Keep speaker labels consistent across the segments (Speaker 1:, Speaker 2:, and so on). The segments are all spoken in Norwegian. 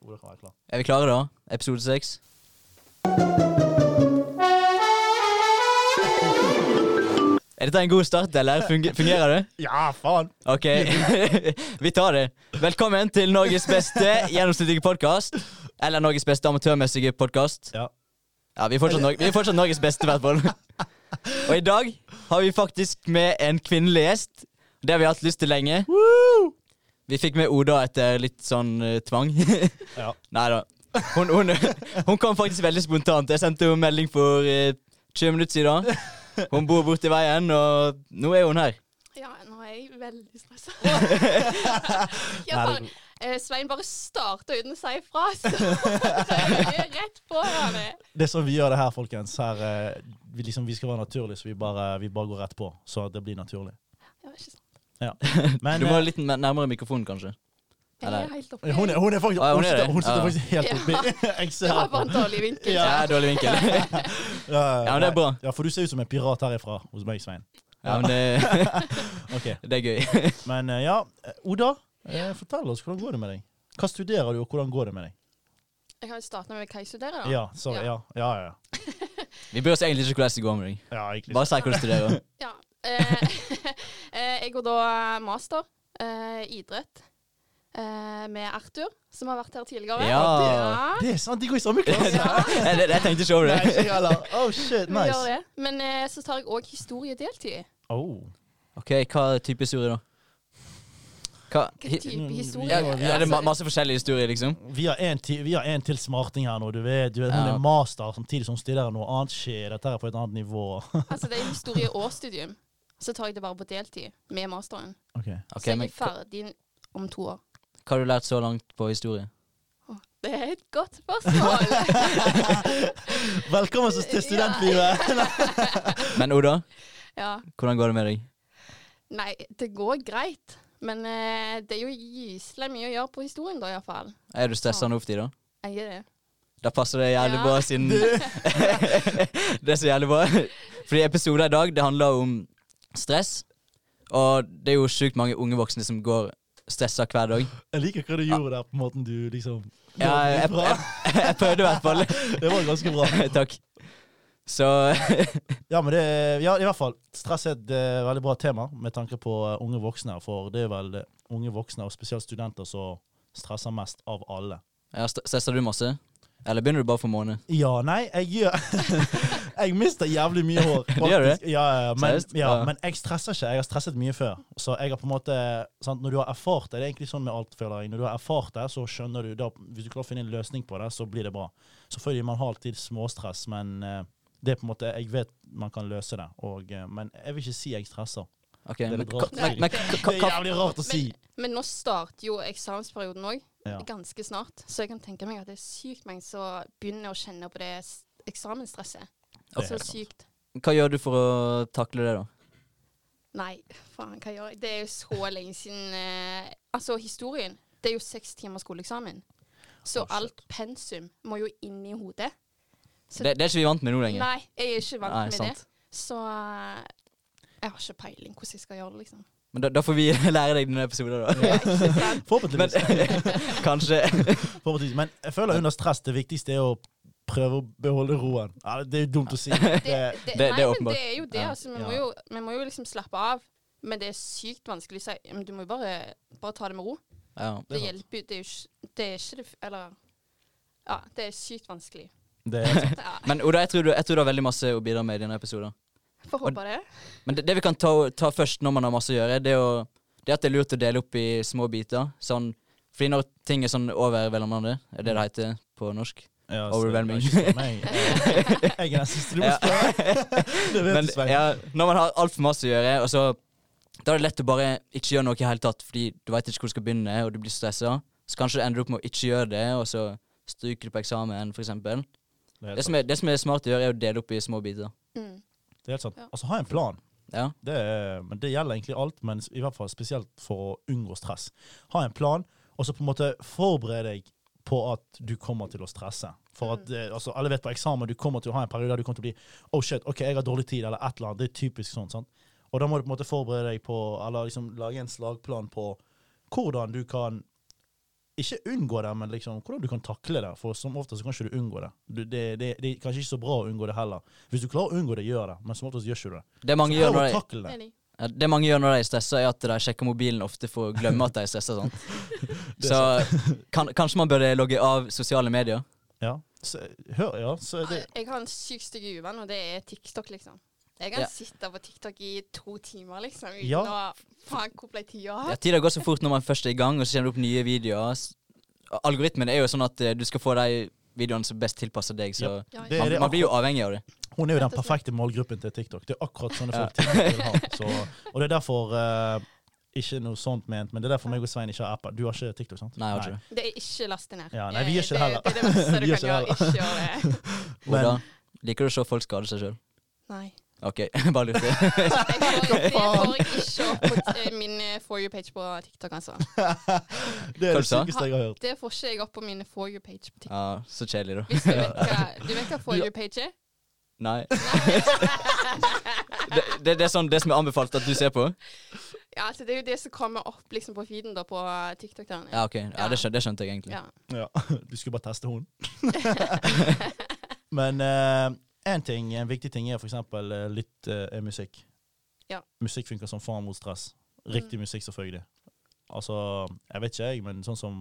Speaker 1: tror dere kan være klar.
Speaker 2: Er vi klare da? Episode seks? Er dette en god start, eller? Funge- Fungerer det?
Speaker 1: Ja, faen!
Speaker 2: Ok, vi tar det. Velkommen til Norges beste gjennomsnittlige podkast. Eller Norges beste amatørmessige podkast.
Speaker 1: Ja.
Speaker 2: Ja, vi er, fortsatt Nor- vi er fortsatt Norges beste, i hvert fall. Og i dag har vi faktisk med en kvinnelig gjest. Det har vi hatt lyst til lenge. Vi fikk med Oda etter litt sånn eh, tvang.
Speaker 1: ja.
Speaker 2: Nei da. Hun, hun, hun kom faktisk veldig spontant. Jeg sendte henne melding for eh, 20 minutter siden. Hun bor borti veien, og nå er hun her.
Speaker 3: Ja, nå er jeg veldig stressa. jeg bare, eh, Svein bare starta uten å si ifra, så jeg er rett på han.
Speaker 1: Det er sånn vi gjør det her, folkens. Her, eh, vi, liksom, vi skal være naturlige, så vi bare, vi bare går rett på. Så det blir naturlig.
Speaker 3: Det var ikke sånn.
Speaker 1: Ja.
Speaker 2: Du
Speaker 1: Men
Speaker 2: må
Speaker 1: eh,
Speaker 2: litt mer- nærmere mikrofonen, kanskje.
Speaker 3: Jeg
Speaker 2: Eller-
Speaker 3: er helt oppe.
Speaker 1: hun, er, hun er faktisk
Speaker 2: Å, ja, hun
Speaker 1: Hun
Speaker 2: er
Speaker 1: sitter,
Speaker 2: det.
Speaker 1: hun sitter
Speaker 2: Ja.
Speaker 1: faktisk helt oppi. Jeg
Speaker 3: det
Speaker 1: ser
Speaker 3: var
Speaker 1: på.
Speaker 3: bare en dårlig vinkel.
Speaker 2: Ja, dårlig vinkel.
Speaker 1: Ja,
Speaker 2: Ja, men det er bra.
Speaker 1: Ja, for du ser ut som en pirat herifra hos meg, Svein.
Speaker 2: Ja, men det,
Speaker 1: Ok,
Speaker 2: det er gøy.
Speaker 1: Men eh, ja, eh, Oda, eh, fortell oss hvordan går det med deg? Hva studerer du, og hvordan går det med deg?
Speaker 3: Jeg har jo starta med hva jeg studerer, da.
Speaker 1: Ja, sorry, ja, ja, ja. ja.
Speaker 2: Vi bryr oss egentlig ikke hvordan det går med deg.
Speaker 1: ja egentlig.
Speaker 2: Bare si hva du studerer.
Speaker 3: Ja. Eh, eh, jeg går da master eh, idrett eh, med Arthur, som har vært her tidligere.
Speaker 2: Ja.
Speaker 3: Ja,
Speaker 1: Det er sant, de går i samme klasse!
Speaker 2: Jeg, jeg- jeg tenkte ikke over
Speaker 1: Nei,
Speaker 2: det.
Speaker 1: ikke heller. Oh, shit,
Speaker 3: vi gjør
Speaker 1: nice.
Speaker 3: det. Men eh, så tar jeg òg historie deltid.
Speaker 1: Oh.
Speaker 2: Ok, hva type historie da? Hva?
Speaker 3: Hva type historie?
Speaker 2: mm, Ja, er det ma masse forskjellige historier, liksom?
Speaker 1: Vi har en til, vi har en til smarting her nå. Du vet, du vet Hun
Speaker 2: Ja.
Speaker 1: er master samtidig som hun studerer noe annet. Shit, dette er på et annet nivå.
Speaker 3: Altså, det er historie og studium. Så tar jeg det bare på deltid med masteren.
Speaker 1: Ok.
Speaker 2: Ok,
Speaker 3: så jeg
Speaker 2: men
Speaker 3: er
Speaker 2: hva,
Speaker 3: ferdig om to år.
Speaker 2: hva har du lært så langt på historie?
Speaker 3: Åh, Det er et godt spørsmål.
Speaker 1: Velkommen så til studentlivet!
Speaker 2: Men Oda,
Speaker 3: ja.
Speaker 2: hvordan går det med deg?
Speaker 3: Nei, det går greit. Men eh, det er jo gyselig mye å gjøre på historien, da iallfall.
Speaker 2: Er du stressa nå for tida?
Speaker 3: Jeg er det.
Speaker 2: Da passer det jævlig
Speaker 3: Ja.
Speaker 2: bra, siden Det er så jævlig bra. Fordi episoden i dag, det handler om stress. Og det er jo sjukt mange unge voksne som går stressa hver dag.
Speaker 1: Jeg liker hva du gjorde der, på måten du liksom
Speaker 2: Ja, jeg,
Speaker 1: Det var bra.
Speaker 2: jeg, jeg prøvde i hvert fall.
Speaker 1: Det var ganske bra.
Speaker 2: Takk. Så
Speaker 1: Ja, men det Ja, i hvert fall. Stress er et eh, veldig bra tema med tanke på eh, unge voksne, for det er vel eh, unge voksne, og spesielt studenter, som stresser mest av alle.
Speaker 2: ja, st- stresser du masse? Eller begynner du bare for måned?
Speaker 1: Ja, nei, jeg gjør Jeg mister jævlig mye hår.
Speaker 2: gjør det?
Speaker 1: faktisk. Ja, ja, men,
Speaker 2: Seriøst?
Speaker 1: ja,
Speaker 2: Ja.
Speaker 1: men jeg stresser ikke. Jeg har stresset mye før. Så jeg har på en måte sant, Når du har erfart det, det er egentlig sånn med alt, føler jeg. Når du har erfart det, så skjønner du da, Hvis du klarer å finne en løsning på det, så blir det bra. Selvfølgelig, man har alltid småstress, men eh, det er på en måte Jeg vet man kan løse det, og, eh, men jeg vil ikke si jeg stresser.
Speaker 2: Ok,
Speaker 1: er
Speaker 2: men,
Speaker 1: litt
Speaker 2: hva-
Speaker 1: rart.
Speaker 2: men, men hva-
Speaker 1: Det er
Speaker 2: hva-
Speaker 1: jævlig rart å si.
Speaker 3: Men nå starter jo eksamensperioden òg,
Speaker 1: Ja.
Speaker 3: ganske snart. Så jeg kan tenke meg at det er sykt mange som begynner å kjenne på det s- eksamensstresset.
Speaker 1: Det er
Speaker 2: Altså,
Speaker 3: Så
Speaker 1: helt sant.
Speaker 3: sykt.
Speaker 2: hva gjør du for å takle det, da?
Speaker 3: Nei, faen, hva gjør jeg? Det er jo så lenge siden eh, Altså, historien. Det er jo seks timer skoleeksamen. Så
Speaker 1: Oh, shit.
Speaker 3: alt pensum må jo inn i hodet. Så-
Speaker 2: Det, det er ikke vi vant med nå lenger.
Speaker 3: Nei, jeg er ikke vant
Speaker 2: Nei,
Speaker 3: med
Speaker 2: sant.
Speaker 3: det. Så eh, jeg har ikke peiling hvordan jeg skal gjøre det, liksom.
Speaker 2: Men da, da får vi lære deg denne episoden, da.
Speaker 3: Ja, ikke sant?
Speaker 1: Forhåpentligvis.
Speaker 2: Kanskje.
Speaker 1: Forhåpentligvis. Men jeg føler under stress det viktigste er å prøve å beholde roen. Ja, det er jo dumt å si.
Speaker 3: Det,
Speaker 1: Det,
Speaker 2: det
Speaker 3: det,
Speaker 2: er
Speaker 3: nei, men
Speaker 2: åpenbart.
Speaker 3: det er jo det.
Speaker 2: Ja.
Speaker 3: Altså, vi, må
Speaker 1: Ja.
Speaker 3: jo, vi må jo liksom slappe av. Men det er sykt vanskelig å si men Du må jo bare, bare ta det med ro.
Speaker 1: Det
Speaker 2: Ja.
Speaker 1: er
Speaker 3: Det
Speaker 1: sant.
Speaker 3: hjelper jo Det er jo ikke det er ikke det f- Eller Ja, det er sykt vanskelig.
Speaker 1: det er
Speaker 3: Ja,
Speaker 2: Men Oda, jeg tror, du, jeg tror du har veldig masse å bidra med i denne episoden.
Speaker 3: Får håpe det.
Speaker 2: Men det, det vi kan ta, ta først når man har masse å gjøre, det er, å, det er at det er lurt å dele opp i små biter. Sånn, fordi når ting er sånn overveldende, er det det heter på norsk.
Speaker 1: ja, så
Speaker 2: Overwhelming.
Speaker 1: det er ikke meg. Jeg er den siste du må spørre. Det vet
Speaker 2: Men
Speaker 1: du, Svein.
Speaker 2: ja, når man har altfor masse å gjøre, og så da er det lett å bare ikke gjøre noe i hele tatt, fordi du veit ikke hvor du skal begynne, og du blir stressa. Så kanskje du ender opp med å ikke gjøre det, og så stryker du på eksamen, for eksempel.
Speaker 1: Det er
Speaker 2: Det
Speaker 1: helt sant.
Speaker 2: som er, det som er smart å gjøre, er å dele opp i små biter.
Speaker 3: Mm.
Speaker 1: Det er helt sant.
Speaker 3: Ja.
Speaker 1: Altså, ha en plan.
Speaker 2: Ja.
Speaker 1: Det, er, men det gjelder egentlig alt, men i hvert fall spesielt for å unngå stress. Ha en plan, og så på en måte forbered deg på at du kommer til å stresse. For at, eh, altså, Alle vet på eksamen du kommer til å ha en periode der du kommer til å bli Oh shit, ok, jeg har dårlig tid, eller et eller annet. Det er typisk sånn. sant? Og da må du på en måte forberede deg på, eller liksom lage en slagplan på hvordan du kan ikke unngå det, men liksom, hvordan du kan takle det. For som oftest så kan ikke du unngå det. Du, det, det. Det er kanskje ikke så bra å unngå det heller. Hvis du klarer å unngå det, gjør det, men som oftest gjør ikke du det.
Speaker 2: Det mange,
Speaker 1: Så
Speaker 2: gjør
Speaker 1: prøv
Speaker 2: når
Speaker 1: å
Speaker 2: de,
Speaker 1: takle det.
Speaker 3: Enig.
Speaker 2: ja, det mange gjør når de er stressa, er at de sjekker mobilen ofte for å glemme at de er stressa. Sånn.
Speaker 1: Det er
Speaker 2: Så kan, kanskje man burde logge av sosiale medier.
Speaker 1: Ja. Så, hør, ja, så det,
Speaker 3: Jeg har en sykt stygg uvenn, og det er TikTok, liksom. Jeg kan
Speaker 2: Ja.
Speaker 3: sitte på TikTok i to timer, liksom, uten
Speaker 1: Ja.
Speaker 3: å Faen, hvor ble tida av?
Speaker 2: Ja, tida går så fort når man først er i gang, og så kommer det opp nye videoer. S- Algoritmen er jo sånn at eh, du skal få de videoene som best tilpasser deg, så
Speaker 3: Ja,
Speaker 1: det
Speaker 3: ja.
Speaker 1: er
Speaker 2: man,
Speaker 1: det
Speaker 2: man blir jo avhengig av det.
Speaker 1: Hun er jo
Speaker 3: Rett
Speaker 1: den
Speaker 3: og slett.
Speaker 1: perfekte målgruppen til TikTok. Det er akkurat sånne
Speaker 2: Ja.
Speaker 1: folk TikTok vil ha. Så, og det er derfor eh, ikke noe sånt ment, men det er derfor meg og Svein ikke har apper. Du har ikke TikTok, sant?
Speaker 2: Nei, jeg har ikke det.
Speaker 3: Det er ikke lastet ned. Eh,
Speaker 1: Ja, nei, vi gjør ikke det heller.
Speaker 3: Det, det er det verste du
Speaker 1: Vi gjør
Speaker 3: kan gjøre. Ikke gjøre det.
Speaker 1: Men-
Speaker 2: Oda, liker du å se folk skade seg sjøl?
Speaker 3: Nei.
Speaker 2: OK, bare lurte.
Speaker 3: Jeg får, det får jeg ikke opp på t- min eh, For you-page på TikTok, altså.
Speaker 1: Det
Speaker 2: Hva
Speaker 1: er
Speaker 2: du
Speaker 1: det
Speaker 2: sa?
Speaker 1: sykeste jeg har hørt.
Speaker 3: Det får ikke jeg opp på min For you-page på TikTok.
Speaker 2: Ja, så kjedelig, da.
Speaker 3: Hvis du vet hva, du vet hva For you-page er?
Speaker 2: Nei. Det, det, det er sånn det som er anbefalt at du ser på?
Speaker 3: Ja, altså, det er jo det som kommer opp liksom, på feeden da, på TikTok. Der.
Speaker 2: Ja, ok. Ja, det, skjønte, det skjønte jeg egentlig.
Speaker 3: Ja.
Speaker 1: Ja. Du skulle bare teste hun. men én ting, en viktig ting er for eksempel eh, litt eh, er musikk.
Speaker 3: Ja. Mm.
Speaker 1: Musikk funker som faen mot stress. Riktig musikk, selvfølgelig. Altså, jeg vet ikke jeg, men sånn som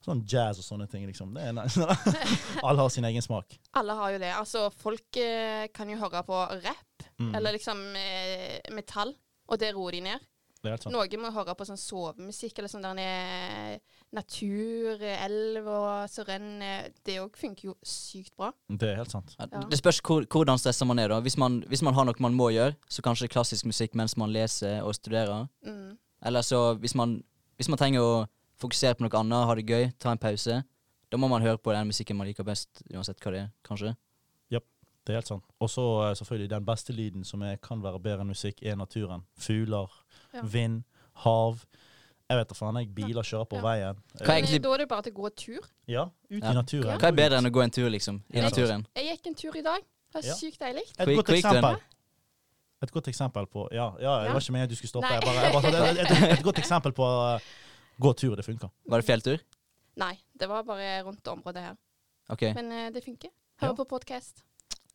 Speaker 1: sånn jazz og sånne ting, liksom. Det er nice. Alle har sin egen smak.
Speaker 3: Alle har jo det. Altså, folk eh, kan jo høre på rap,
Speaker 1: Mm.
Speaker 3: eller liksom eh, metall, og det roer de ned.
Speaker 1: Det er helt sant.
Speaker 3: Noen må høre på sånn sovemusikk, eller sånn der eh, natur, eh, elv og så renner Det òg funker jo sykt bra.
Speaker 1: Det er helt sant.
Speaker 2: Ja,
Speaker 3: Ja.
Speaker 2: Det spørs hvor, hvordan stressa man er. da hvis man, hvis man har noe man må gjøre, så kanskje klassisk musikk mens man leser og studerer.
Speaker 3: Mm.
Speaker 2: Eller så hvis man, hvis man trenger å fokusere på noe annet, ha det gøy, ta en pause, da må man høre på den musikken man liker best, uansett hva det er, kanskje.
Speaker 1: Det er helt sant. Og så eh, selvfølgelig den beste lyden som er, kan være bedre enn musikk, er naturen. Fugler,
Speaker 3: Ja.
Speaker 1: vind, hav. Jeg vet da faen, jeg biler kjører på
Speaker 3: Ja.
Speaker 1: veien.
Speaker 2: Hva er
Speaker 1: Eh,
Speaker 3: Men, eh,
Speaker 2: egentlig-
Speaker 3: Da er det bare til å gå tur.
Speaker 1: Ja, ut
Speaker 2: Ja.
Speaker 1: i naturen.
Speaker 2: Hva er bedre enn å gå en tur, liksom, i
Speaker 1: Ja.
Speaker 2: naturen?
Speaker 3: Jeg gikk en tur i dag. Det var
Speaker 1: Ja.
Speaker 3: sykt deilig.
Speaker 1: Et
Speaker 2: Hvor-
Speaker 1: godt
Speaker 2: hvor gikk du hen?
Speaker 1: eksempel. Et godt eksempel på Ja, ja jeg
Speaker 3: Ja.
Speaker 1: var ikke meningen at du skulle stoppe.
Speaker 3: Nei.
Speaker 1: Jeg bare, jeg bare, sa det. et, et, et godt eksempel på eh, gå tur, det funker.
Speaker 2: Var det fjelltur?
Speaker 3: Nei, det var bare rundt området her.
Speaker 2: OK.
Speaker 3: Men eh, det funker.
Speaker 1: Ja.
Speaker 3: Hør på podkast.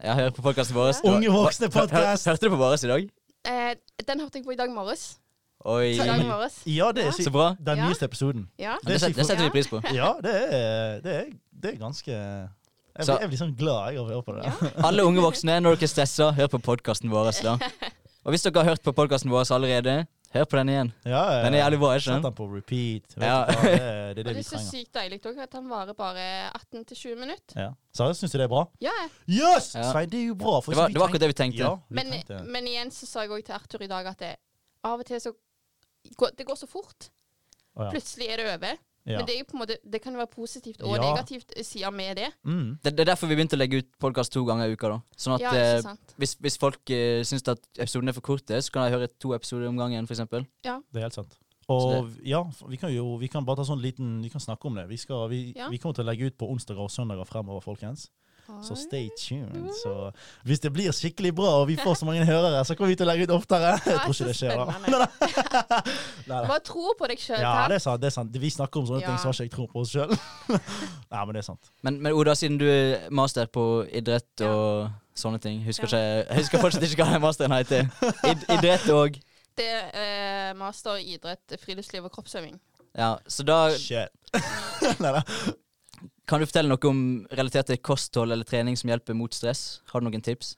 Speaker 2: Jeg hører på podkasten vår.
Speaker 1: Ja. Unge voksne podcast.
Speaker 2: Hør- Hørte du på vår i dag?
Speaker 3: Eh, den hørte jeg på i dag morges. I dag
Speaker 2: Oi.
Speaker 3: morges.
Speaker 1: Ja, det er
Speaker 2: Så
Speaker 1: sykt.
Speaker 2: bra.
Speaker 1: Den
Speaker 3: Ja.
Speaker 1: nyeste episoden.
Speaker 3: Ja.
Speaker 2: Det, set, det setter vi pris på.
Speaker 1: Ja, det er, det er, det er ganske jeg,
Speaker 2: Så-
Speaker 1: blir- jeg blir sånn glad jeg av å høre på det.
Speaker 2: Alle unge voksne, når dere er stressa, hør på podkasten vår. Da. Og hvis dere har hørt på podkasten vår allerede, hør på den igjen.
Speaker 1: Ja, eh,
Speaker 2: Den er jævlig bra, ikke
Speaker 1: Sett
Speaker 2: sant?
Speaker 1: den på repeat. Vet
Speaker 2: Ja.
Speaker 1: du hva, det, er- det er
Speaker 3: Og
Speaker 1: det
Speaker 3: det
Speaker 1: vi
Speaker 3: er så
Speaker 1: trenger.
Speaker 3: sykt deilig òg at han varer bare 18-20 minutter.
Speaker 1: Ja. Seriøst, syns du det er bra?
Speaker 3: Ja,
Speaker 1: Yes!
Speaker 2: Ja.
Speaker 1: Svein, det er jo bra. For
Speaker 2: Det var, det var akkurat det vi tenkte.
Speaker 1: Ja, vi
Speaker 3: men,
Speaker 1: trengte det.
Speaker 3: men igjen så sa jeg òg til Arthur i dag at det, av og til så går, Det går så fort.
Speaker 1: Å, ja.
Speaker 3: eh, Plutselig er det over.
Speaker 1: Ja.
Speaker 3: Men det, er jo på en måte, det kan jo være positivt og
Speaker 1: Ja.
Speaker 3: negativt sider med det.
Speaker 1: Mm.
Speaker 2: Det, det er derfor vi begynte å legge ut podkast to ganger i uka. da Sånn at
Speaker 3: ja,
Speaker 2: eh,
Speaker 3: ikke sant?
Speaker 2: hvis, hvis folk uh, syns at episodene er for korte, så kan de høre to episoder om gangen, f.eks.
Speaker 1: Det er helt sant.
Speaker 2: Så
Speaker 1: Og ja, for vi kan jo vi kan bare ta sånn liten Vi kan snakke om det. Vi, skal, vi,
Speaker 3: Ja.
Speaker 1: vi kommer til å legge ut på onsdager og søndager fremover, folkens. Så stay tuned. Så hvis det blir skikkelig bra og vi får så mange hørere, så kommer vi til å legge ut oftere. Jeg tror ikke det skjer, da. Nei, da.
Speaker 3: Bare tro på deg sjøl.
Speaker 1: Ja, det er sant. det er sant Vi snakker om sånne
Speaker 3: Ja.
Speaker 1: ting, så har ikke jeg tro på oss sjøl. Nei, men det er sant.
Speaker 2: Men, men Oda, siden du er master på idrett
Speaker 3: Ja.
Speaker 2: og sånne ting Husker,
Speaker 3: Ja.
Speaker 2: ikke, jeg husker fortsatt ikke hva den masteren heter. Id, idrett og
Speaker 3: det er eh, master i idrett, friluftsliv og kroppsøving.
Speaker 2: Ja, så da
Speaker 1: Shit.
Speaker 2: Kan du fortelle noe om relatert til kosthold eller trening som hjelper mot stress? Har du noen tips?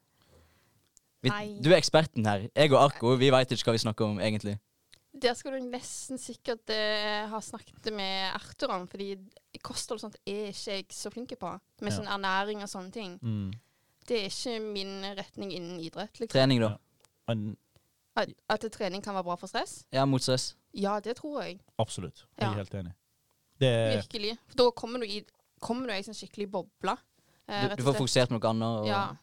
Speaker 2: Vi,
Speaker 3: Nei.
Speaker 2: du er eksperten her. Jeg og Arko vi veit ikke hva vi snakker om egentlig.
Speaker 3: Der skal du nesten sikkert eh, ha snakket med Arthur om, fordi kosthold og sånt er ikke jeg så flink på. Med
Speaker 1: Ja.
Speaker 3: sånn ernæring og sånne ting.
Speaker 1: Mm.
Speaker 3: Det er ikke min retning innen idrett. Liksom.
Speaker 2: Trening, da.
Speaker 1: Men
Speaker 3: At, at trening kan være bra for stress?
Speaker 2: Ja, mot stress.
Speaker 3: Ja, det tror jeg.
Speaker 1: absolutt. Jeg
Speaker 3: Ja.
Speaker 1: er helt enig. Det
Speaker 2: Eh.
Speaker 1: er
Speaker 3: Virkelig. For da kommer du i kommer du i en sånn skikkelig boble. eh,
Speaker 2: Du,
Speaker 3: rett
Speaker 2: du
Speaker 3: og
Speaker 2: får fokusert
Speaker 3: slett.
Speaker 2: på noe annet. Og
Speaker 3: Ja.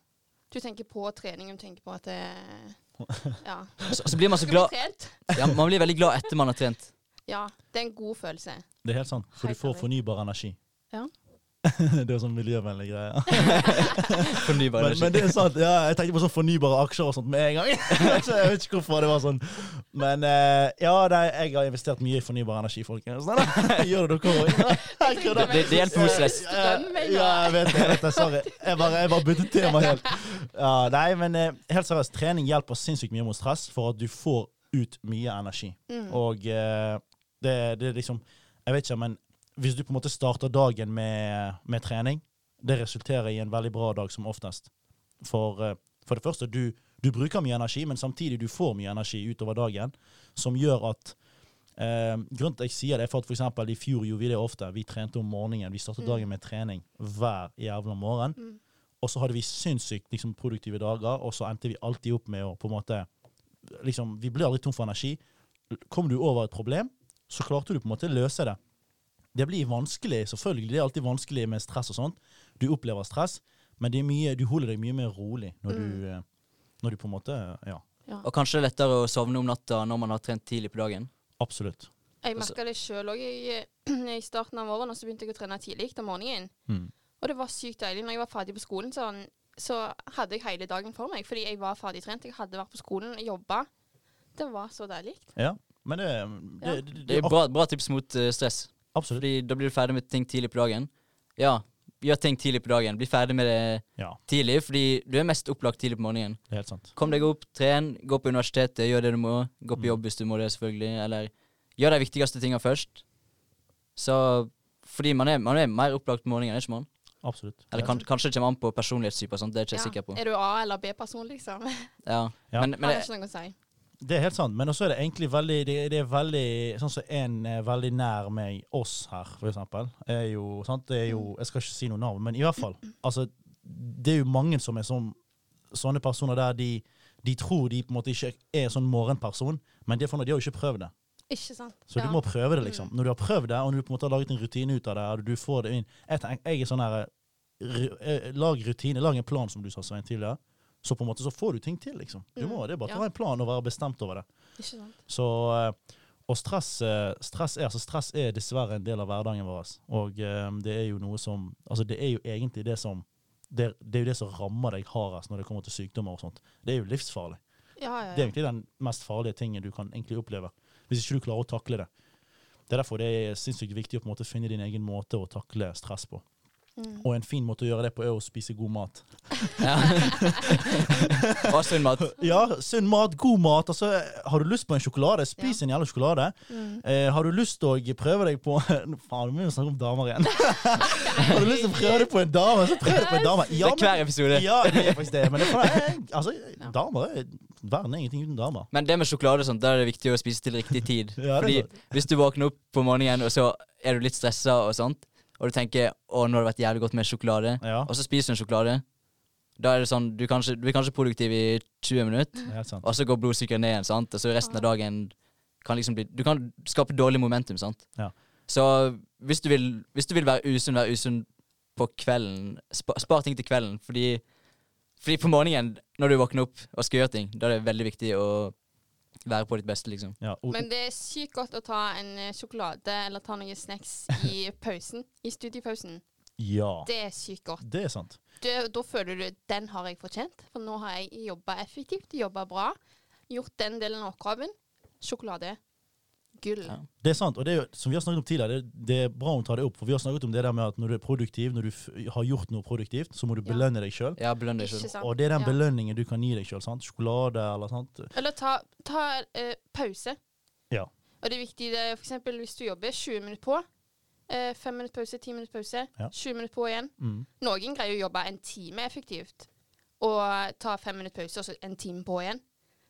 Speaker 3: Du tenker på trening, du tenker på at eh, Ja.
Speaker 2: så, så blir man så
Speaker 3: Skal vi
Speaker 2: glad
Speaker 3: trent?
Speaker 2: ja, Man blir veldig glad etter man har trent.
Speaker 3: Ja. Det er en god følelse.
Speaker 1: Det er helt sant, for du
Speaker 3: Helt
Speaker 1: får
Speaker 3: enig.
Speaker 1: fornybar energi.
Speaker 3: Ja.
Speaker 1: det er sånn miljøvennlig greie.
Speaker 2: Fornybar
Speaker 1: Men, men det
Speaker 2: energi.
Speaker 1: er sant, ja, jeg tenkte på sånn fornybare aksjer og sånt med en gang. så jeg vet ikke hvorfor det var sånn. Men eh, ja, nei, jeg har investert mye i fornybar energi, folkens. Nei, nei, Gjør det dere òg. Jeg kødder.
Speaker 2: Det, det, det hjelper mot stress.
Speaker 3: Strøm, jeg
Speaker 1: Eh, Ja, jeg vet det. Jeg, vet det, sorry. jeg bare, jeg bare byttet tema helt. Ja, nei, men eh, helt seriøst, trening hjelper sinnssykt mye mot stress for at du får ut mye energi. Og eh, det, det er liksom Jeg vet ikke, men hvis du på en måte starter dagen med, med trening, det resulterer i en veldig bra dag som oftest. For, eh, for det første, du, du bruker mye energi, men samtidig du får mye energi utover dagen, som gjør at Eh, grunnen til at jeg sier det, er for at for eksempel i fjor gjorde vi det ofte. Vi trente om morgenen. Vi startet dagen med trening hver jævla morgen. Og så hadde vi sinnssykt liksom, produktive dager, og så endte vi alltid opp med å på en måte liksom, Vi ble aldri tom for energi. Kom du over et problem, så klarte du på en måte løse det. Det blir vanskelig, selvfølgelig. Det er alltid vanskelig med stress og sånt. Du opplever stress, men det er mye, du holder deg mye mer rolig når du, eh, når du på en måte Ja,
Speaker 2: Og kanskje det er lettere å sovne om natta når man har trent tidlig på dagen.
Speaker 1: absolutt.
Speaker 3: Jeg merka det sjøl òg. I starten av våren og så begynte jeg å trene tidlig om morgenen.
Speaker 1: Mm.
Speaker 3: Og det var sykt deilig. Når jeg var ferdig på skolen, sånn, så hadde jeg hele dagen for meg. Fordi jeg var ferdig trent. Jeg hadde vært på skolen, jobba. Det var så deilig.
Speaker 1: Ja. Men det, det,
Speaker 3: Ja.
Speaker 1: det, det,
Speaker 2: Det er bra, bra tips mot eh, stress.
Speaker 1: Absolutt.
Speaker 2: Fordi da blir du ferdig med ting tidlig på dagen. Ja, gjør ting tidlig på dagen. Bli ferdig med det
Speaker 1: Ja,
Speaker 2: tidlig, fordi du er mest opplagt tidlig på morgenen.
Speaker 1: det er helt sant.
Speaker 2: Kom deg opp, tren, gå på universitetet, gjør det du må. Gå
Speaker 1: Mm.
Speaker 2: på jobb hvis du må det, selvfølgelig. Eller gjør de viktigste tinga først. Så fordi man er, man er mer opplagt på morgenen, er ikke man?
Speaker 1: Absolutt.
Speaker 2: Eller kan, kanskje det kommer an på personlighetstype og sånt, det er jeg ikke
Speaker 3: Ja.
Speaker 2: sikker på.
Speaker 3: Er du A- eller B-person, liksom?
Speaker 2: Ja.
Speaker 1: Ja.
Speaker 2: Men, men
Speaker 3: Har
Speaker 2: det,
Speaker 3: ikke noe å si.
Speaker 1: Det er helt sant, men også er det egentlig veldig Det, det er veldig Sånn som en eh, veldig nær meg, oss her, for eksempel, er jo sant? Det er jo Jeg skal ikke si noe navn, men i hvert fall. Altså, det er jo mange som er sånn Sånne personer der de, de tror de på en måte ikke er sånn morgenperson, men det er for noe, de har jo ikke prøvd det.
Speaker 3: Ikke sant.
Speaker 1: Så
Speaker 3: Ja. Mm.
Speaker 1: du må prøve det, liksom. Når du har prøvd det, og når du på en måte har laget en rutine ut av det, og du får det inn Jeg, tenker, jeg er sånn her ru- eh, Lag rutine, lag en plan, som du sa, Svein, tidligere. Så på en måte så får du ting til, liksom. Du må, det er bare å
Speaker 3: Mm. Ja.
Speaker 1: ha en plan og være bestemt over det.
Speaker 3: Ikke sant.
Speaker 1: Så, eh, og stress, eh, stress, er, altså stress er dessverre en del av hverdagen vår. ass. Og eh, det er jo noe som Altså, det er jo egentlig det som Det, det er jo det som rammer deg hardest når det kommer til sykdommer og sånt. Det er jo livsfarlig.
Speaker 3: Ja, ja,
Speaker 1: Det er
Speaker 3: ja.
Speaker 1: egentlig den mest farlige tingen du kan egentlig oppleve, hvis ikke du klarer å takle det. Det er derfor det er sinnssykt viktig å på en måte finne din egen måte å takle stress på. Og en fin måte å gjøre det på er å spise god mat.
Speaker 2: Mm. ja. og sunn mat.
Speaker 1: Ja, sunn mat, god mat. Altså, har du lyst på en sjokolade, spis en jævla sjokolade.
Speaker 2: Mm.
Speaker 1: Eh, har du lyst til å prøve deg på Nå, Faen, nå må vi snakke om damer igjen. har du lyst til å prøve deg på en dame, så prøv deg på en dame.
Speaker 2: Det er hver episode.
Speaker 1: ja, det er faktisk det. Men det er, for- altså, damer er Verden er ingenting uten damer.
Speaker 2: Men det med sjokolade og sånt, da er det viktig å spise til riktig tid.
Speaker 1: Ja, det
Speaker 2: Fordi
Speaker 1: er
Speaker 2: hvis du våkner opp på morgenen, og så er du litt stressa og sånt, og du tenker 'Å, nå har det vært jævlig godt med sjokolade',
Speaker 1: Ja.
Speaker 2: og så spiser du en sjokolade, da er det sånn Du, kanskje, du er kanskje produktiv i 20 minutter,
Speaker 1: Det er helt sant.
Speaker 2: og så går blodsukkeret ned igjen, sant, og så resten av dagen kan liksom bli Du kan skape dårlig momentum, sant.
Speaker 1: Ja.
Speaker 2: Så hvis du vil, hvis du vil være usunn, være usunn på kvelden. Spar, spar ting til kvelden, fordi fordi på morgenen, når du våkner opp og skal gjøre ting, da er det veldig viktig å være på ditt beste, liksom.
Speaker 1: Ja, og,
Speaker 3: Men det er sykt godt å ta en eh, sjokolade eller ta noen snacks i pausen. I studiepausen.
Speaker 1: ja.
Speaker 3: Det er sykt godt.
Speaker 1: Det er sant.
Speaker 3: det, da føler du den har jeg fortjent. For nå har jeg jobba effektivt, jobba bra. Gjort den delen av oppgaven. Sjokolade. Gull.
Speaker 2: Ja.
Speaker 1: Det er sant, og det er jo, som vi har snakket om tidligere, det, det er bra hun tar det opp. For vi har snakket om det der med at når du er produktiv, når du f har gjort noe produktivt, så må du
Speaker 3: Ja.
Speaker 1: belønne deg sjøl.
Speaker 2: Ja, belønn deg
Speaker 3: Ikke
Speaker 2: selv.
Speaker 3: sant?
Speaker 1: Og det er den
Speaker 3: Ja.
Speaker 1: belønningen du kan gi deg sjøl. Sjokolade eller sånt.
Speaker 3: Eller ta, ta eh, pause.
Speaker 1: Ja.
Speaker 3: Og det er viktig det, er for eksempel hvis du jobber 20 minutter på. eh, Fem minutter pause, ti minutter pause.
Speaker 1: Ja.
Speaker 3: 20 minutter på igjen.
Speaker 1: Mm.
Speaker 3: Noen greier å jobbe en time effektivt. Og ta fem minutter pause, og så en time på igjen.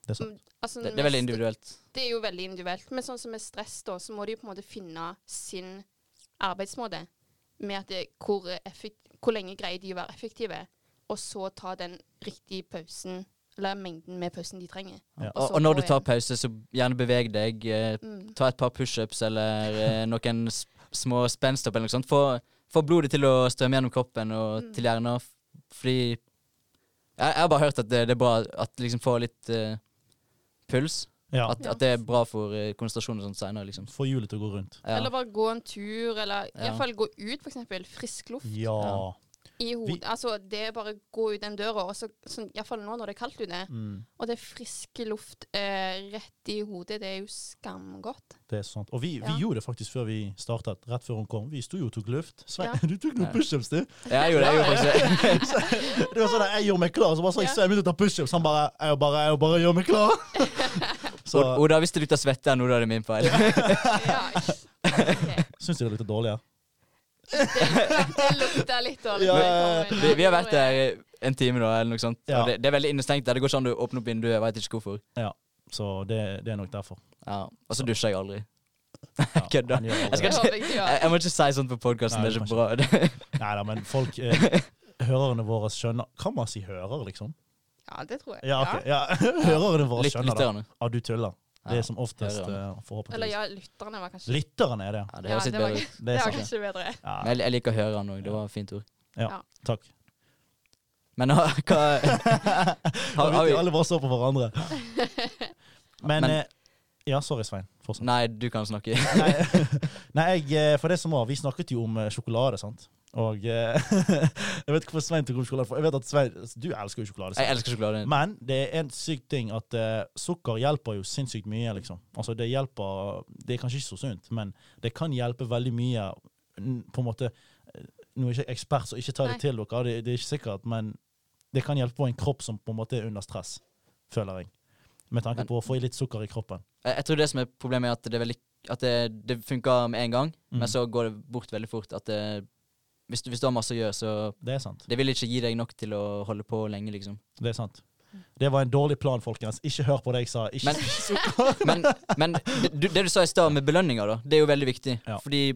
Speaker 1: Det er sant.
Speaker 3: Altså,
Speaker 2: Det, det er veldig
Speaker 3: mest-
Speaker 2: individuelt.
Speaker 3: Det er jo veldig individuelt. Men sånn som med stress, da, så må de på en måte finne sin arbeidsmåte. Med at det, hvor, effekt, hvor lenge greier de å være effektive, og så ta den riktige pausen, eller mengden med pausen de trenger.
Speaker 1: Ja.
Speaker 2: Og, og når du tar pause, så gjerne beveg deg. Eh,
Speaker 3: Mm.
Speaker 2: ta et par pushups eller eh, noen s små spenstopp eller noe sånt. Få, få blodet til å strømme gjennom kroppen
Speaker 1: Mm.
Speaker 2: og til hjernen. f- Fordi jeg, jeg har bare hørt at det, det er bra at liksom få litt eh, puls.
Speaker 1: Ja.
Speaker 2: At, at det er bra for eh, konsentrasjon og sånt senere, liksom.
Speaker 1: Få hjulet til å gå rundt.
Speaker 2: Ja.
Speaker 3: Eller bare gå en tur, eller
Speaker 2: Ja.
Speaker 3: i
Speaker 2: Mm.
Speaker 3: hvert fall gå ut, for eksempel. Frisk luft
Speaker 1: Ja.
Speaker 3: i hodet. Altså, det er bare gå ut den døra, og så, sånn, i hvert fall nå når det er kaldt ute,
Speaker 1: Mm,
Speaker 3: og det er frisk luft eh, rett i hodet, det er jo skamgodt.
Speaker 1: det er sant. Og vi, vi
Speaker 3: Ja.
Speaker 1: gjorde det faktisk før vi startet, rett før hun kom. Vi sto jo og tok luft. Svein,
Speaker 3: Ja.
Speaker 1: du tok noen
Speaker 2: Ja.
Speaker 1: pushups, du.
Speaker 2: Ja, jeg gjorde det. Jeg gjorde faktisk det.
Speaker 1: Det var sånn at jeg gjorde meg klar, så bare så jeg
Speaker 3: Ja.
Speaker 1: Svein begynte å ta pushups. Han bare Jeg bare, jeg bare gjør meg klar. Så
Speaker 2: Od- Oda, hvis det lukter svette her nå, da er det min feil.
Speaker 3: Ja. ok.
Speaker 1: syns jeg det lukter dårlig her.
Speaker 3: Det lukta litt dårlig.
Speaker 1: Ja,
Speaker 3: når
Speaker 1: ja,
Speaker 3: jeg kom inn.
Speaker 2: Vi, vi har vært der eh, en time, da, eller noe sånt.
Speaker 1: Ja.
Speaker 2: Og det, det er veldig innestengt der. Det går ikke an å åpne opp vinduet. Jeg vet ikke hvorfor.
Speaker 1: Så det, det er nok derfor.
Speaker 2: Ja. Og så dusjer jeg aldri.
Speaker 1: Ja,
Speaker 2: Kødda.
Speaker 1: han gjør aldri
Speaker 2: Jeg skal
Speaker 1: det.
Speaker 3: Det
Speaker 2: ikke
Speaker 3: håper jeg du gjør.
Speaker 2: jeg, jeg må ikke si sånt på podkasten.
Speaker 1: Nei,
Speaker 2: Det er
Speaker 1: du
Speaker 2: ikke bra. Det,
Speaker 1: Neida, men folk eh, Hørerne våre skjønner Kan man si hører, liksom?
Speaker 3: Ja, det tror jeg.
Speaker 1: Ja, ok. Ja. Hørerne våre
Speaker 2: lytt,
Speaker 1: skjønner det.
Speaker 2: lytterne.
Speaker 1: Ja, du tuller. Det
Speaker 2: Ja,
Speaker 1: er som oftest,
Speaker 2: hørerne.
Speaker 1: eh,
Speaker 3: Eller
Speaker 1: forhåpentligvis.
Speaker 3: ja, lytterne var kanskje
Speaker 1: Lytterne er det.
Speaker 2: Ja, det høres litt
Speaker 3: det var,
Speaker 2: bedre ut.
Speaker 3: det
Speaker 1: Det er
Speaker 3: var
Speaker 1: sant.
Speaker 3: kanskje bedre.
Speaker 1: Ja,
Speaker 2: Men Jeg, jeg liker å høre han òg. Det var et fint ord.
Speaker 1: takk.
Speaker 2: Men ah, hva har,
Speaker 1: Da
Speaker 2: har
Speaker 1: vet
Speaker 2: vi
Speaker 1: jo alle bare så på hverandre. Men,
Speaker 2: Men-
Speaker 1: eh, Ja, sorry, Svein. Fortsett.
Speaker 2: Nei, du kan snakke.
Speaker 1: Nei, nei jeg, eh, for det som var, vi snakket jo om eh, sjokolade, sant? Og eh, jeg vet ikke hvorfor Svein tok om sjokolade. For jeg vet at Svein, Du elsker jo sjokolade.
Speaker 2: Jeg
Speaker 1: Svein.
Speaker 2: elsker sjokolade.
Speaker 1: Men det er en syk ting at eh, sukker hjelper jo sinnssykt mye, liksom. Altså, det hjelper Det er kanskje ikke så sunt, men det kan hjelpe veldig mye. n- På en måte eh, Nå er jeg ikke ekspert, så ikke ta det
Speaker 3: Nei.
Speaker 1: til dere, det, det er ikke sikkert, men det kan hjelpe på en kropp som på en måte er under stress, føler jeg. Med tanke
Speaker 2: Men-
Speaker 1: på å få i litt sukker i kroppen.
Speaker 2: Jeg, jeg tror det som er problemet, er at det, er veldig, at det, det funker med en gang,
Speaker 1: Mm.
Speaker 2: men så går det bort veldig fort. At det, hvis, du, hvis du har masse å gjøre, så
Speaker 1: Det er sant.
Speaker 2: Det vil ikke gi deg nok til å holde på lenge, liksom.
Speaker 1: Det er sant. Det var en dårlig plan, folkens. Ikke hør på det jeg sa. Ikke
Speaker 2: Mm. Men-
Speaker 1: spis sukker.
Speaker 2: Men, men det, du- det du sa i stad med belønninger, da, det er jo veldig viktig.
Speaker 1: Ja.
Speaker 2: Fordi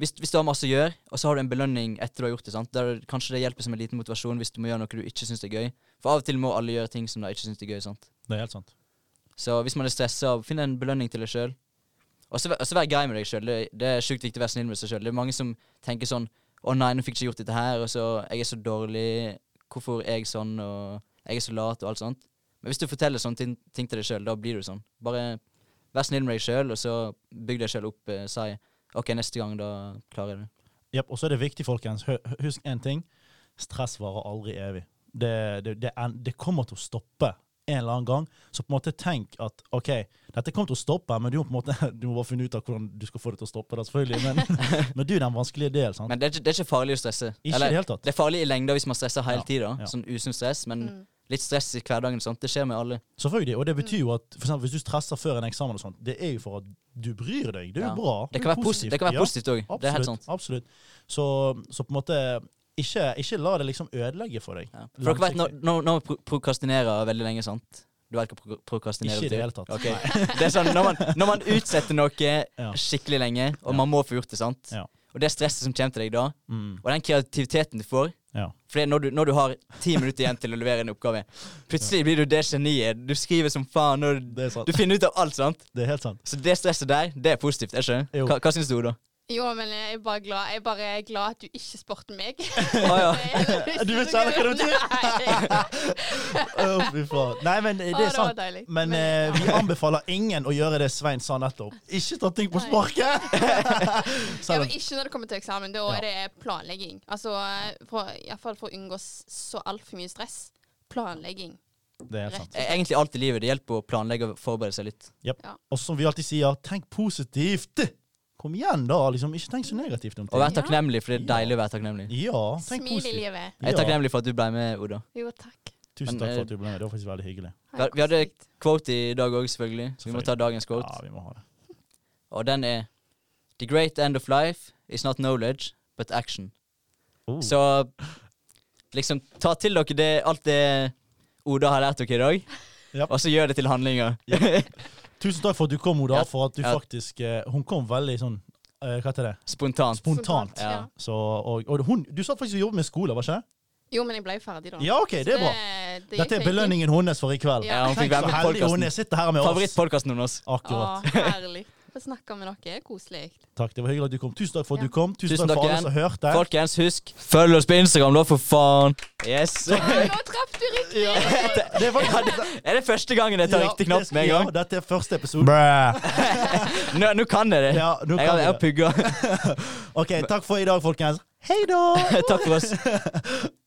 Speaker 2: hvis, hvis du har masse å gjøre, og så har du en belønning etter du har gjort det, sant? Der, kanskje det hjelper som en liten motivasjon hvis du må gjøre noe du ikke syns er gøy. For av og til må alle gjøre ting som de ikke syns er gøy. sant?
Speaker 1: Det er helt sant.
Speaker 2: Så hvis man er stressa, finn en belønning til deg sjøl. Og så væ- og så vær grei med deg sjøl. Det, det er sjukt viktig å være snill med seg sjøl. Det er mange som tenker sånn Å nei, nå fikk jeg ikke gjort dette her, og så Jeg er så dårlig. Hvorfor er jeg sånn, og Jeg er så lat, og alt sånt. Men hvis du forteller sånne ting, ting til deg sjøl, da blir du sånn. Bare vær snill med deg sjøl, og så bygg deg sjøl opp. Eh, si OK, neste gang, da klarer jeg det.
Speaker 1: Jep, og så er det viktig, folkens. Hø- Husk én ting. Stress varer aldri evig. Det, det, det, er, det kommer til å stoppe en eller annen gang. Så på en måte tenk at OK, dette kommer til å stoppe, men du må på en måte Du må bare finne ut av hvordan du skal få det til å stoppe, da, selvfølgelig. Men, men du er den vanskelige del, sant?
Speaker 2: Men det er, ikke, det er ikke farlig å stresse.
Speaker 1: Ikke i
Speaker 2: Eller,
Speaker 1: det hele tatt.
Speaker 2: det er farlig i lengda hvis man stresser hele
Speaker 1: Ja,
Speaker 2: tida.
Speaker 1: ja.
Speaker 2: Sånn usunn stress, men
Speaker 3: Mm.
Speaker 2: litt stress i hverdagen. og sånt, Det skjer med alle.
Speaker 1: Selvfølgelig. Og det betyr
Speaker 2: Mm.
Speaker 1: jo at for eksempel, hvis du stresser før en eksamen, og sånt, det er jo for at du bryr deg. Det er jo
Speaker 2: Ja.
Speaker 1: bra.
Speaker 2: Det
Speaker 1: Du
Speaker 2: kan
Speaker 1: er
Speaker 2: være positivt, det kan
Speaker 1: Ja.
Speaker 2: være positivt òg. Det er helt sant.
Speaker 1: Absolutt. Så, så på en måte ikke, ikke la det liksom ødelegge for deg.
Speaker 2: Ja. For dere vet, nå, nå, nå pro prokrastinerer veldig lenge, sant? Du vet hva pro prokrastinere
Speaker 1: Ikke i det hele tatt.
Speaker 2: Ok. Det er sånn, når man, når man utsetter noe
Speaker 1: Ja.
Speaker 2: skikkelig lenge, og
Speaker 1: Ja.
Speaker 2: man må få gjort det, sant?
Speaker 1: Ja.
Speaker 2: Og det stresset som kommer til deg da,
Speaker 1: Mm,
Speaker 2: og den kreativiteten du får
Speaker 1: ja.
Speaker 2: For det er når du, når du har ti minutter igjen til å levere en oppgave, plutselig blir du det geniet. Du skriver som faen, og
Speaker 1: Det er sant.
Speaker 2: du finner ut av alt, sant?
Speaker 1: Det er helt sant.
Speaker 2: Så det stresset der, det er positivt, er ikke det?
Speaker 1: Jo.
Speaker 2: Hva, hva syns du, Oda?
Speaker 3: Jo, men jeg er bare glad, jeg bare er glad at du ikke spurte meg.
Speaker 2: Å ja.
Speaker 1: Du vet selv hva det betyr.
Speaker 3: Nei.
Speaker 1: Å, fy faen. Nei, men eh, det
Speaker 3: Å,
Speaker 1: er
Speaker 3: det var
Speaker 1: sant.
Speaker 3: deilig.
Speaker 1: Men eh, vi anbefaler ingen å gjøre det Svein sa nettopp. Ikke ta ting på
Speaker 3: Nei.
Speaker 1: sparket!
Speaker 3: Ja,
Speaker 1: Selv
Speaker 3: men
Speaker 1: om
Speaker 3: ikke når det kommer til eksamen. Da er det planlegging. Altså, for, i hvert fall for å unngå s- så altfor mye stress. Planlegging.
Speaker 1: det er helt sant.
Speaker 2: E- Egentlig alt i livet. Det hjelper å planlegge og forberede seg litt.
Speaker 1: Og som vi alltid sier, tenk positivt! Kom igjen, da. liksom. Ikke tenk så negativt om
Speaker 2: Og
Speaker 1: ting.
Speaker 2: være takknemlig, for det er
Speaker 1: Ja.
Speaker 2: deilig å være takknemlig.
Speaker 1: Ja, tenk
Speaker 3: Smil i
Speaker 1: positivt.
Speaker 3: livet.
Speaker 2: Jeg er
Speaker 1: Ja.
Speaker 2: takknemlig for at du ble med, Oda.
Speaker 3: Jo, takk.
Speaker 1: Tusen
Speaker 2: Men,
Speaker 1: takk for
Speaker 2: eh,
Speaker 1: at du ble med. Det var faktisk veldig hyggelig.
Speaker 2: Vi, vi hadde quote i dag òg, selvfølgelig. Så vi må
Speaker 1: Selvfølgelig.
Speaker 2: ta dagens quote.
Speaker 1: Ja, vi må ha det.
Speaker 2: Og den er The great end of life is not knowledge, but action.
Speaker 1: Oh.
Speaker 2: Så liksom ta til dere det, alt det Oda har lært dere i dag,
Speaker 1: Japp.
Speaker 2: og så gjør det til handlinger.
Speaker 1: Tusen takk for at du kom, Oda.
Speaker 2: Ja,
Speaker 1: For at du
Speaker 2: ja.
Speaker 1: faktisk eh, Hun kom veldig sånn eh, Hva heter det?
Speaker 2: Spontant.
Speaker 1: Spontant.
Speaker 2: Ja.
Speaker 3: Ja.
Speaker 1: Så, og, og hun, du satt faktisk og jobbet med skole, var ikke det?
Speaker 3: Jo, men jeg ble jo ferdig, da.
Speaker 1: Ja, OK, det er bra.
Speaker 3: Det- det
Speaker 1: Dette er
Speaker 3: gikk fint.
Speaker 1: belønningen hennes for i kveld.
Speaker 3: Ja.
Speaker 2: Ja, hun fikk
Speaker 1: Tenk
Speaker 2: være
Speaker 1: så
Speaker 2: med på
Speaker 1: heldig hun er
Speaker 2: podkasten.
Speaker 1: sitter her med oss.
Speaker 3: Ah.
Speaker 2: Favorittpodkasten hennes.
Speaker 1: Akkurat.
Speaker 3: Å, herlig. Få snakke med dere. Koselig.
Speaker 1: Takk, det var hyggelig at du kom. Tusen takk for at
Speaker 3: Ja.
Speaker 1: du kom. Tusen,
Speaker 2: Tusen
Speaker 1: takk for
Speaker 2: takk
Speaker 1: alle som hørte.
Speaker 2: Folkens, husk, følg oss på Instagram, da, for faen. Yes.
Speaker 3: Å, Nå traff du riktig!
Speaker 1: Det er faktisk-
Speaker 2: Er det første gangen jeg tar
Speaker 1: Ja,
Speaker 2: riktig
Speaker 1: det
Speaker 2: knapp
Speaker 1: skal-
Speaker 2: med en gang?
Speaker 1: Ja, dette er første episode. Brr.
Speaker 2: Nå, nå kan jeg det.
Speaker 1: Ja, nå
Speaker 2: jeg
Speaker 1: kan
Speaker 2: har-
Speaker 1: vi
Speaker 2: jeg har
Speaker 1: det.
Speaker 2: pugga.
Speaker 1: Ok, takk for i dag, folkens. Hei da!
Speaker 2: Takk for oss.